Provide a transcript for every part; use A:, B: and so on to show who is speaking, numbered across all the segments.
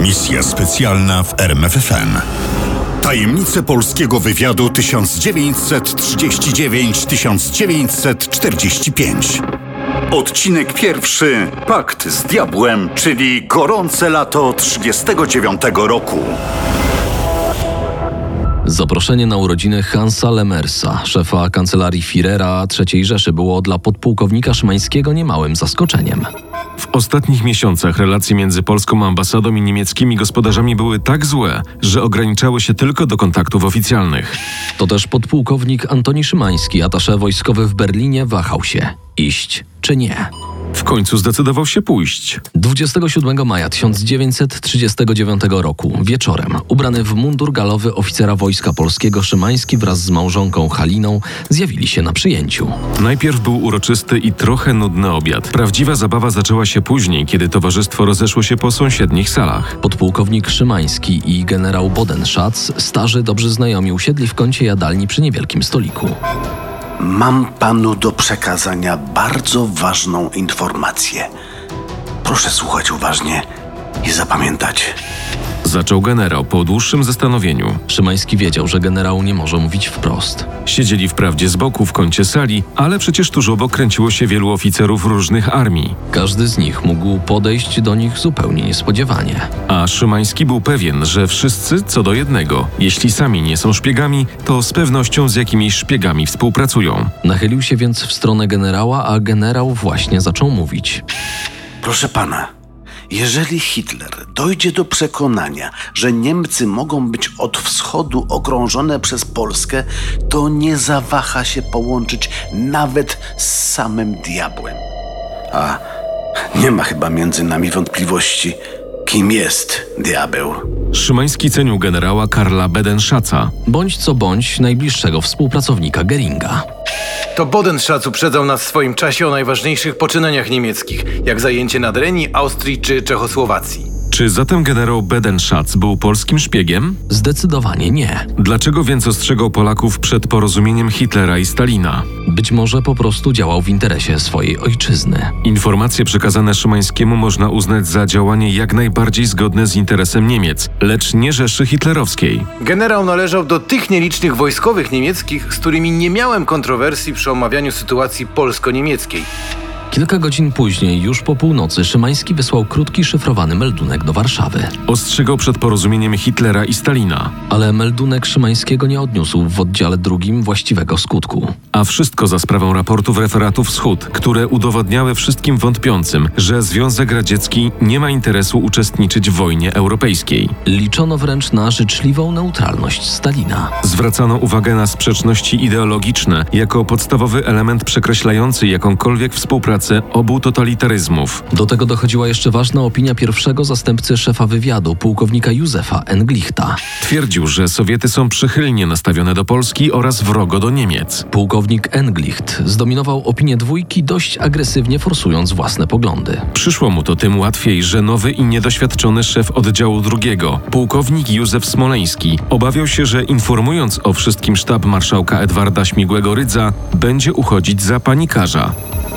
A: Misja specjalna w RMFFM. Tajemnice polskiego wywiadu 1939-1945. Odcinek pierwszy. Pakt z diabłem, czyli gorące lato 39 roku.
B: Zaproszenie na urodziny Hansa Lemersa, szefa kancelarii Firera III Rzeszy, było dla podpułkownika Szymańskiego niemałym zaskoczeniem.
C: W ostatnich miesiącach relacje między polską ambasadą i niemieckimi gospodarzami były tak złe, że ograniczały się tylko do kontaktów oficjalnych.
B: To też podpułkownik Antoni Szymański, atasze wojskowy w Berlinie, wahał się iść czy nie.
C: W końcu zdecydował się pójść.
B: 27 maja 1939 roku, wieczorem, ubrany w mundur galowy oficera Wojska Polskiego Szymański wraz z małżonką Haliną zjawili się na przyjęciu.
C: Najpierw był uroczysty i trochę nudny obiad. Prawdziwa zabawa zaczęła się później, kiedy towarzystwo rozeszło się po sąsiednich salach.
B: Podpułkownik Szymański i generał Bodenschatz, starzy dobrzy znajomi, usiedli w kącie jadalni przy niewielkim stoliku.
D: Mam panu do przekazania bardzo ważną informację. Proszę słuchać uważnie i zapamiętać.
C: Zaczął generał po dłuższym zastanowieniu.
B: Szymański wiedział, że generał nie może mówić wprost.
C: Siedzieli wprawdzie z boku w kącie sali, ale przecież tuż obok kręciło się wielu oficerów różnych armii.
B: Każdy z nich mógł podejść do nich zupełnie niespodziewanie.
C: A Szymański był pewien, że wszyscy co do jednego, jeśli sami nie są szpiegami, to z pewnością z jakimiś szpiegami współpracują.
B: Nachylił się więc w stronę generała, a generał właśnie zaczął mówić.
D: Proszę pana, jeżeli Hitler dojdzie do przekonania, że Niemcy mogą być od wschodu okrążone przez Polskę, to nie zawaha się połączyć nawet z samym diabłem. A nie ma chyba między nami wątpliwości, kim jest diabeł.
C: Szymański cenił generała Karla Bedenszaca.
B: Bądź co bądź najbliższego współpracownika Geringa.
E: To Bodenschatz uprzedzał nas w swoim czasie o najważniejszych poczynaniach niemieckich, jak zajęcie Nadrenii, Austrii czy Czechosłowacji.
C: Czy zatem generał Bedenszac był polskim szpiegiem?
B: Zdecydowanie nie.
C: Dlaczego więc ostrzegał Polaków przed porozumieniem Hitlera i Stalina?
B: Być może po prostu działał w interesie swojej ojczyzny.
C: Informacje przekazane Szymańskiemu można uznać za działanie jak najbardziej zgodne z interesem Niemiec, lecz nie Rzeszy Hitlerowskiej.
E: Generał należał do tych nielicznych wojskowych niemieckich, z którymi nie miałem kontrowersji przy omawianiu sytuacji polsko-niemieckiej.
B: Kilka godzin później, już po północy, Szymański wysłał krótki szyfrowany meldunek do Warszawy.
C: Ostrzegał przed porozumieniem Hitlera i Stalina.
B: Ale meldunek Szymańskiego nie odniósł w oddziale drugim właściwego skutku.
C: A wszystko za sprawą raportów referatów Wschód, które udowadniały wszystkim wątpiącym, że Związek Radziecki nie ma interesu uczestniczyć w wojnie europejskiej.
B: Liczono wręcz na życzliwą neutralność Stalina.
C: Zwracano uwagę na sprzeczności ideologiczne jako podstawowy element przekreślający jakąkolwiek współpracę obu totalitaryzmów.
B: Do tego dochodziła jeszcze ważna opinia pierwszego zastępcy szefa wywiadu, pułkownika Józefa Englichta.
C: Twierdził, że Sowiety są przychylnie nastawione do Polski oraz wrogo do Niemiec.
B: Pułkownik Englicht zdominował opinię dwójki, dość agresywnie forsując własne poglądy.
C: Przyszło mu to tym łatwiej, że nowy i niedoświadczony szef oddziału drugiego, pułkownik Józef Smoleński, obawiał się, że informując o wszystkim sztab marszałka Edwarda Śmigłego Rydza, będzie uchodzić za panikarza.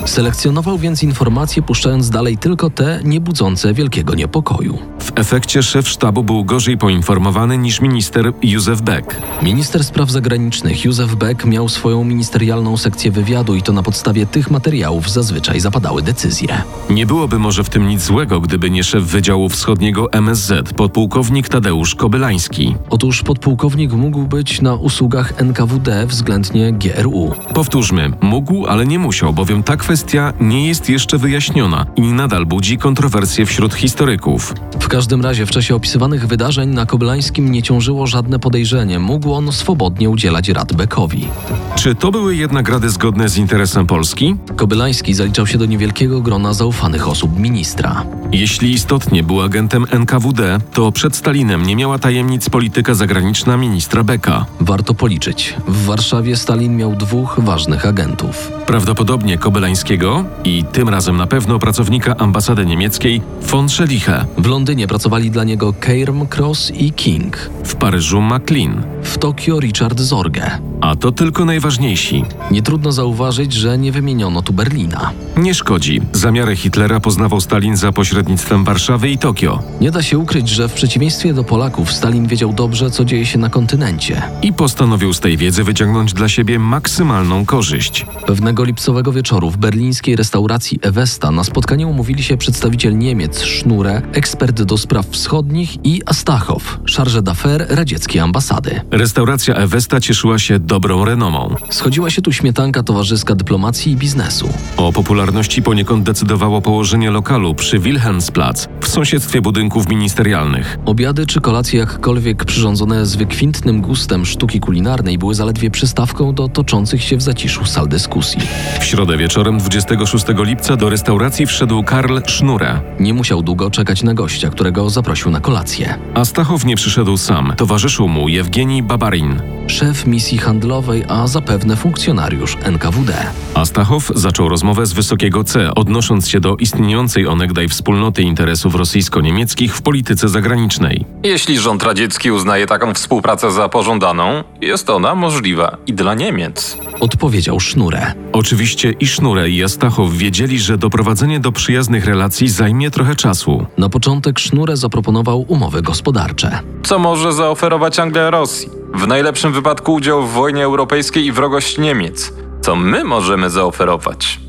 B: Selekcjonował więc informacje, puszczając dalej tylko te niebudzące wielkiego niepokoju.
C: W efekcie szef sztabu był gorzej poinformowany niż minister Józef Beck.
B: Minister spraw zagranicznych Józef Beck miał swoją ministerialną sekcję wywiadu i to na podstawie tych materiałów zazwyczaj zapadały decyzje.
C: Nie byłoby może w tym nic złego, gdyby nie szef Wydziału Wschodniego MSZ, podpułkownik Tadeusz Kobylański.
B: Otóż podpułkownik mógł być na usługach NKWD względnie GRU.
C: Powtórzmy, mógł, ale nie musiał, bowiem tak kwestia nie jest jeszcze wyjaśniona i nadal budzi kontrowersje wśród historyków.
B: W każdym razie w czasie opisywanych wydarzeń na Koblańskim nie ciążyło żadne podejrzenie. Mógł on swobodnie udzielać rad Bekowi.
C: Czy to były jednak rady zgodne z interesem Polski?
B: Kobylański zaliczał się do niewielkiego grona zaufanych osób ministra.
C: Jeśli istotnie był agentem NKWD, to przed Stalinem nie miała tajemnic polityka zagraniczna ministra Beka.
B: Warto policzyć. W Warszawie Stalin miał dwóch ważnych agentów.
C: Prawdopodobnie Kobelańskiego i tym razem na pewno pracownika ambasady niemieckiej von Scheliche,
B: W Londynie pracowali dla niego Keirm Cross i King.
C: w Paryżu McLean.
B: W Tokio Richard Zorge.
C: A to tylko najważniejsi.
B: Nie trudno zauważyć, że nie wymieniono tu Berlina.
C: Nie szkodzi. Zamiary Hitlera poznawał Stalin za pośrednictwem Warszawy i Tokio.
B: Nie da się ukryć, że w przeciwieństwie do Polaków Stalin wiedział dobrze, co dzieje się na kontynencie.
C: I postanowił z tej wiedzy wyciągnąć dla siebie maksymalną korzyść.
B: Pewnego lipcowego wieczoru w berlińskiej restauracji Ewesta na spotkanie umówili się przedstawiciel Niemiec Sznure, ekspert do spraw wschodnich i Astachow, charge d'affaires radzieckiej ambasady.
C: Restauracja Ewesta cieszyła się dobrą renomą.
B: Schodziła się tu śmietanka towarzyska dyplomacji i biznesu.
C: O popularności poniekąd decydowało położenie lokalu przy Wilhelmsplatz, w sąsiedztwie budynków ministerialnych.
B: Obiady czy kolacje jakkolwiek przyrządzone z wykwintnym gustem sztuki kulinarnej były zaledwie przystawką do toczących się w zaciszu sal dyskusji.
C: W środę wieczorem 26 lipca do restauracji wszedł Karl Sznura.
B: Nie musiał długo czekać na gościa, którego zaprosił na kolację.
C: A Stachow nie przyszedł sam, towarzyszył mu Jewgenij Babarin.
B: Szef misji handlowej, a zapewne funkcjonariusz NKWD.
C: Astachow zaczął rozmowę z wysokiego C, odnosząc się do istniejącej onegdaj wspólnoty interesów rosyjsko-niemieckich w polityce zagranicznej.
F: Jeśli rząd radziecki uznaje taką współpracę za pożądaną, jest ona możliwa i dla Niemiec.
B: Odpowiedział Sznurę.
C: Oczywiście i Sznure i Astachow wiedzieli, że doprowadzenie do przyjaznych relacji zajmie trochę czasu.
B: Na początek Sznurę zaproponował umowy gospodarcze.
F: Co może zaoferować Anglia Rosji? W najlepszym wypadku udział w wojnie europejskiej i wrogość Niemiec. Co my możemy zaoferować?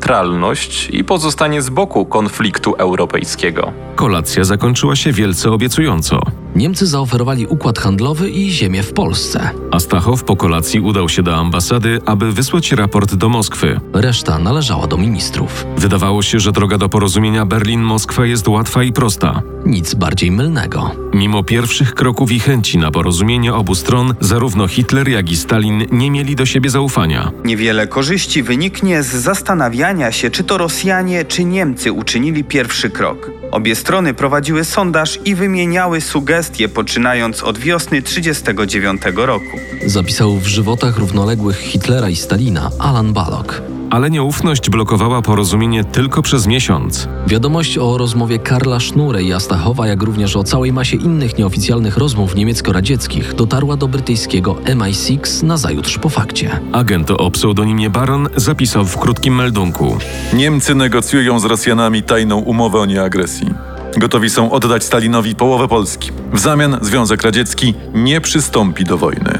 F: Neutralność i pozostanie z boku konfliktu europejskiego.
C: Kolacja zakończyła się wielce obiecująco.
B: Niemcy zaoferowali układ handlowy i ziemię w Polsce.
C: Astachow po kolacji udał się do ambasady, aby wysłać raport do Moskwy.
B: Reszta należała do ministrów.
C: Wydawało się, że droga do porozumienia Berlin-Moskwa jest łatwa i prosta.
B: Nic bardziej mylnego.
C: Mimo pierwszych kroków i chęci na porozumienie obu stron, zarówno Hitler, jak i Stalin nie mieli do siebie zaufania.
G: Niewiele korzyści wyniknie z zastanawiania się, czy to Rosjanie, czy Niemcy uczynili pierwszy krok. Obie strony prowadziły sondaż i wymieniały sugestie, poczynając od wiosny 1939 roku.
B: Zapisał w żywotach równoległych Hitlera i Stalina Alan Balog.
C: Ale nieufność blokowała porozumienie tylko przez miesiąc.
B: Wiadomość o rozmowie Karla Sznure i Astachowa, jak również o całej masie innych nieoficjalnych rozmów niemiecko-radzieckich, dotarła do brytyjskiego MI6 nazajutrz po fakcie.
C: Agent o pseudonimie Baron zapisał w krótkim meldunku.
H: Niemcy negocjują z Rosjanami tajną umowę o nieagresji. Gotowi są oddać Stalinowi połowę Polski. W zamian Związek Radziecki nie przystąpi do wojny.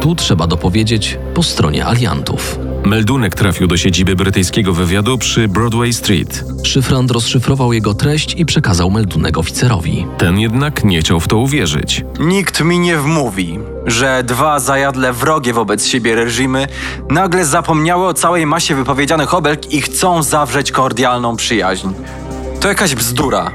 B: Tu trzeba dopowiedzieć po stronie aliantów.
C: Meldunek trafił do siedziby brytyjskiego wywiadu przy Broadway Street.
B: Szyfrant rozszyfrował jego treść i przekazał meldunek oficerowi.
C: Ten jednak nie chciał w to uwierzyć.
I: Nikt mi nie wmówi, że dwa zajadle wrogie wobec siebie reżimy nagle zapomniały o całej masie wypowiedzianych obelg i chcą zawrzeć kordialną przyjaźń. To jakaś bzdura.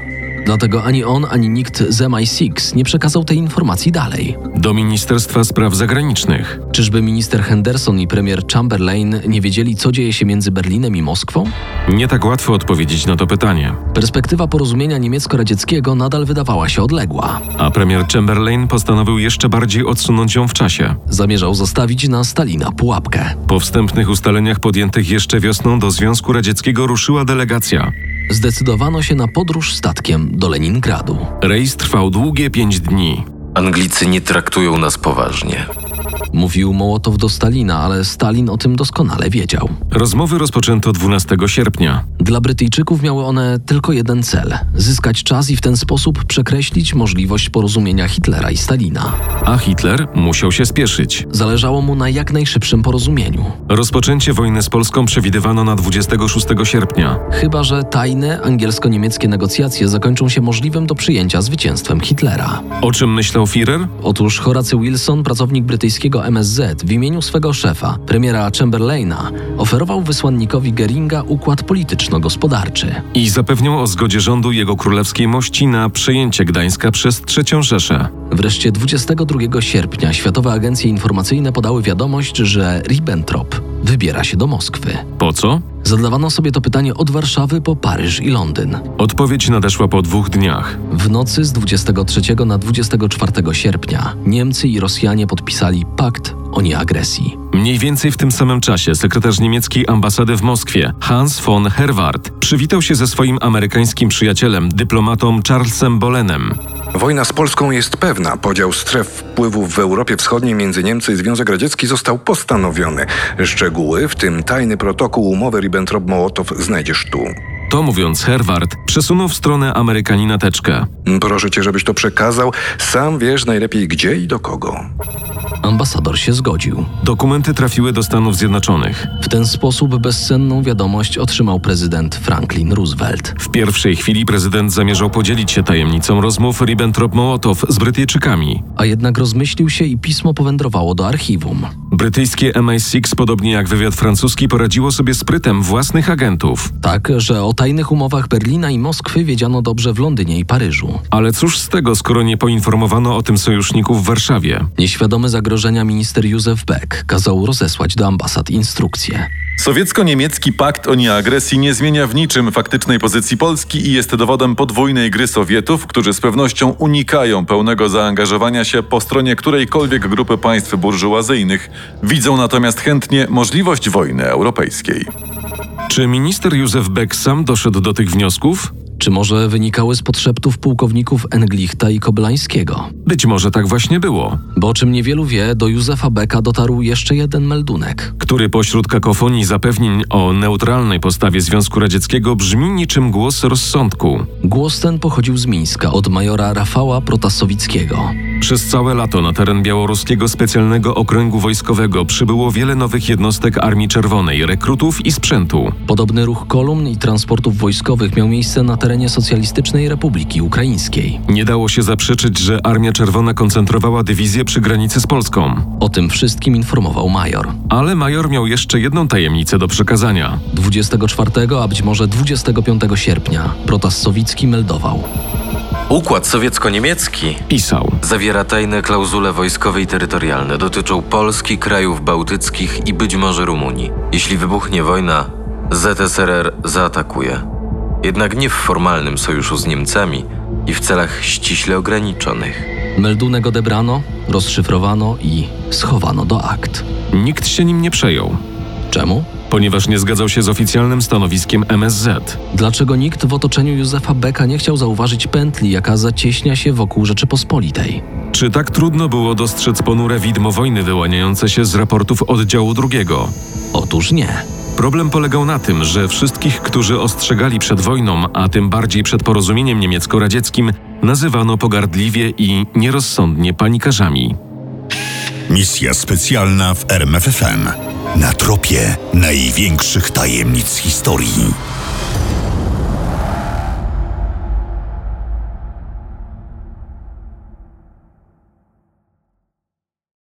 B: Dlatego ani on, ani nikt z MI6 nie przekazał tej informacji dalej.
C: Do Ministerstwa Spraw Zagranicznych.
B: Czyżby minister Henderson i premier Chamberlain nie wiedzieli, co dzieje się między Berlinem i Moskwą?
C: Nie tak łatwo odpowiedzieć na to pytanie.
B: Perspektywa porozumienia niemiecko-radzieckiego nadal wydawała się odległa.
C: A premier Chamberlain postanowił jeszcze bardziej odsunąć ją w czasie.
B: Zamierzał zostawić na Stalina pułapkę.
C: Po wstępnych ustaleniach podjętych jeszcze wiosną do Związku Radzieckiego ruszyła delegacja.
B: Zdecydowano się na podróż statkiem do Leningradu.
C: Rejs trwał długie pięć dni.
J: Anglicy nie traktują nas poważnie.
B: Mówił Mołotow do Stalina, ale Stalin o tym doskonale wiedział.
C: Rozmowy rozpoczęto 12 sierpnia.
B: Dla Brytyjczyków miały one tylko jeden cel zyskać czas i w ten sposób przekreślić możliwość porozumienia Hitlera i Stalina.
C: a Hitler musiał się spieszyć.
B: Zależało mu na jak najszybszym porozumieniu,
C: Rozpoczęcie wojny z Polską przewidywano na 26 sierpnia.
B: chyba że tajne angielsko-niemieckie negocjacje zakończą się możliwym do przyjęcia zwycięstwem Hitlera.
C: O czym myślał Führer?
B: Otóż Horacy Wilson, pracownik brytyjskiego niemieckiego MSZ w imieniu swego szefa, premiera Chamberlaina, oferował wysłannikowi Geringa układ polityczno-gospodarczy.
C: I zapewniał o zgodzie rządu jego królewskiej mości na przejęcie Gdańska przez III Rzeszę.
B: Wreszcie 22 sierpnia światowe agencje informacyjne podały wiadomość, że Ribbentrop wybiera się do Moskwy.
C: Po co?
B: Zadawano sobie to pytanie od Warszawy po Paryż i Londyn.
C: Odpowiedź nadeszła po dwóch dniach.
B: W nocy z 23 na 24 sierpnia Niemcy i Rosjanie podpisali pakt o nieagresji.
C: Mniej więcej w tym samym czasie sekretarz niemieckiej ambasady w Moskwie, Hans von Herwart, przywitał się ze swoim amerykańskim przyjacielem, dyplomatą Charlesem Bolenem.
K: Wojna z Polską jest pewna. Podział stref wpływów w Europie Wschodniej między Niemcy i Związek Radziecki został postanowiony. Szczegóły, w tym tajny protokół umowy Ribbentrop-Mołotow, znajdziesz tu.
C: To mówiąc, Herwart przesunął w stronę Amerykanina teczkę.
K: Proszę cię, żebyś to przekazał. Sam wiesz najlepiej gdzie i do kogo.
B: Ambasador się zgodził.
C: Dokumenty trafiły do Stanów Zjednoczonych.
B: W ten sposób bezcenną wiadomość otrzymał prezydent Franklin Roosevelt.
C: W pierwszej chwili prezydent zamierzał podzielić się tajemnicą rozmów Ribbentrop-Mołotow z Brytyjczykami.
B: A jednak rozmyślił się i pismo powędrowało do archiwum.
C: Brytyjskie MI6, podobnie jak wywiad francuski, poradziło sobie sprytem własnych agentów.
B: Tak, że o tajnych umowach Berlina i Moskwy wiedziano dobrze w Londynie i Paryżu.
C: Ale cóż z tego, skoro nie poinformowano o tym sojuszników w Warszawie?
B: Nieświadomy zagrożenia minister Józef Beck kazał rozesłać do ambasad instrukcje.
H: Sowiecko-niemiecki pakt o nieagresji nie zmienia w niczym faktycznej pozycji Polski i jest dowodem podwójnej gry Sowietów, którzy z pewnością unikają pełnego zaangażowania się po stronie którejkolwiek grupy państw burżuazyjnych, widzą natomiast chętnie możliwość wojny europejskiej.
C: Czy minister Józef Beck sam doszedł do tych wniosków?
B: Czy może wynikały z podszeptów pułkowników Englichta i Koblańskiego?
C: Być może tak właśnie było.
B: Bo o czym niewielu wie, do Józefa Beka dotarł jeszcze jeden meldunek.
C: Który pośród kakofonii zapewnień o neutralnej postawie Związku Radzieckiego brzmi niczym głos rozsądku.
B: Głos ten pochodził z Mińska od majora Rafała Protasowickiego.
C: Przez całe lato na teren białoruskiego specjalnego okręgu wojskowego przybyło wiele nowych jednostek Armii Czerwonej, rekrutów i sprzętu.
B: Podobny ruch kolumn i transportów wojskowych miał miejsce na terenie Socjalistycznej Republiki Ukraińskiej.
C: Nie dało się zaprzeczyć, że Armia Czerwona koncentrowała dywizję przy granicy z Polską.
B: O tym wszystkim informował major.
C: Ale major miał jeszcze jedną tajemnicę do przekazania.
B: 24, a być może 25 sierpnia Protas Sowicki meldował.
J: Układ sowiecko-niemiecki
C: pisał.
J: Zawiera tajne klauzule wojskowe i terytorialne. Dotyczą Polski, krajów bałtyckich i być może Rumunii. Jeśli wybuchnie wojna, ZSRR zaatakuje. Jednak nie w formalnym sojuszu z Niemcami i w celach ściśle ograniczonych.
B: Meldunek odebrano, rozszyfrowano i schowano do akt.
C: Nikt się nim nie przejął.
B: Czemu?
C: ponieważ nie zgadzał się z oficjalnym stanowiskiem MSZ.
B: Dlaczego nikt w otoczeniu Józefa Beka nie chciał zauważyć pętli, jaka zacieśnia się wokół Rzeczypospolitej?
C: Czy tak trudno było dostrzec ponure widmo wojny wyłaniające się z raportów oddziału drugiego?
B: Otóż nie.
C: Problem polegał na tym, że wszystkich, którzy ostrzegali przed wojną, a tym bardziej przed porozumieniem niemiecko-radzieckim, nazywano pogardliwie i nierozsądnie panikarzami.
A: Misja specjalna w RMFFM. Na tropie największych tajemnic historii.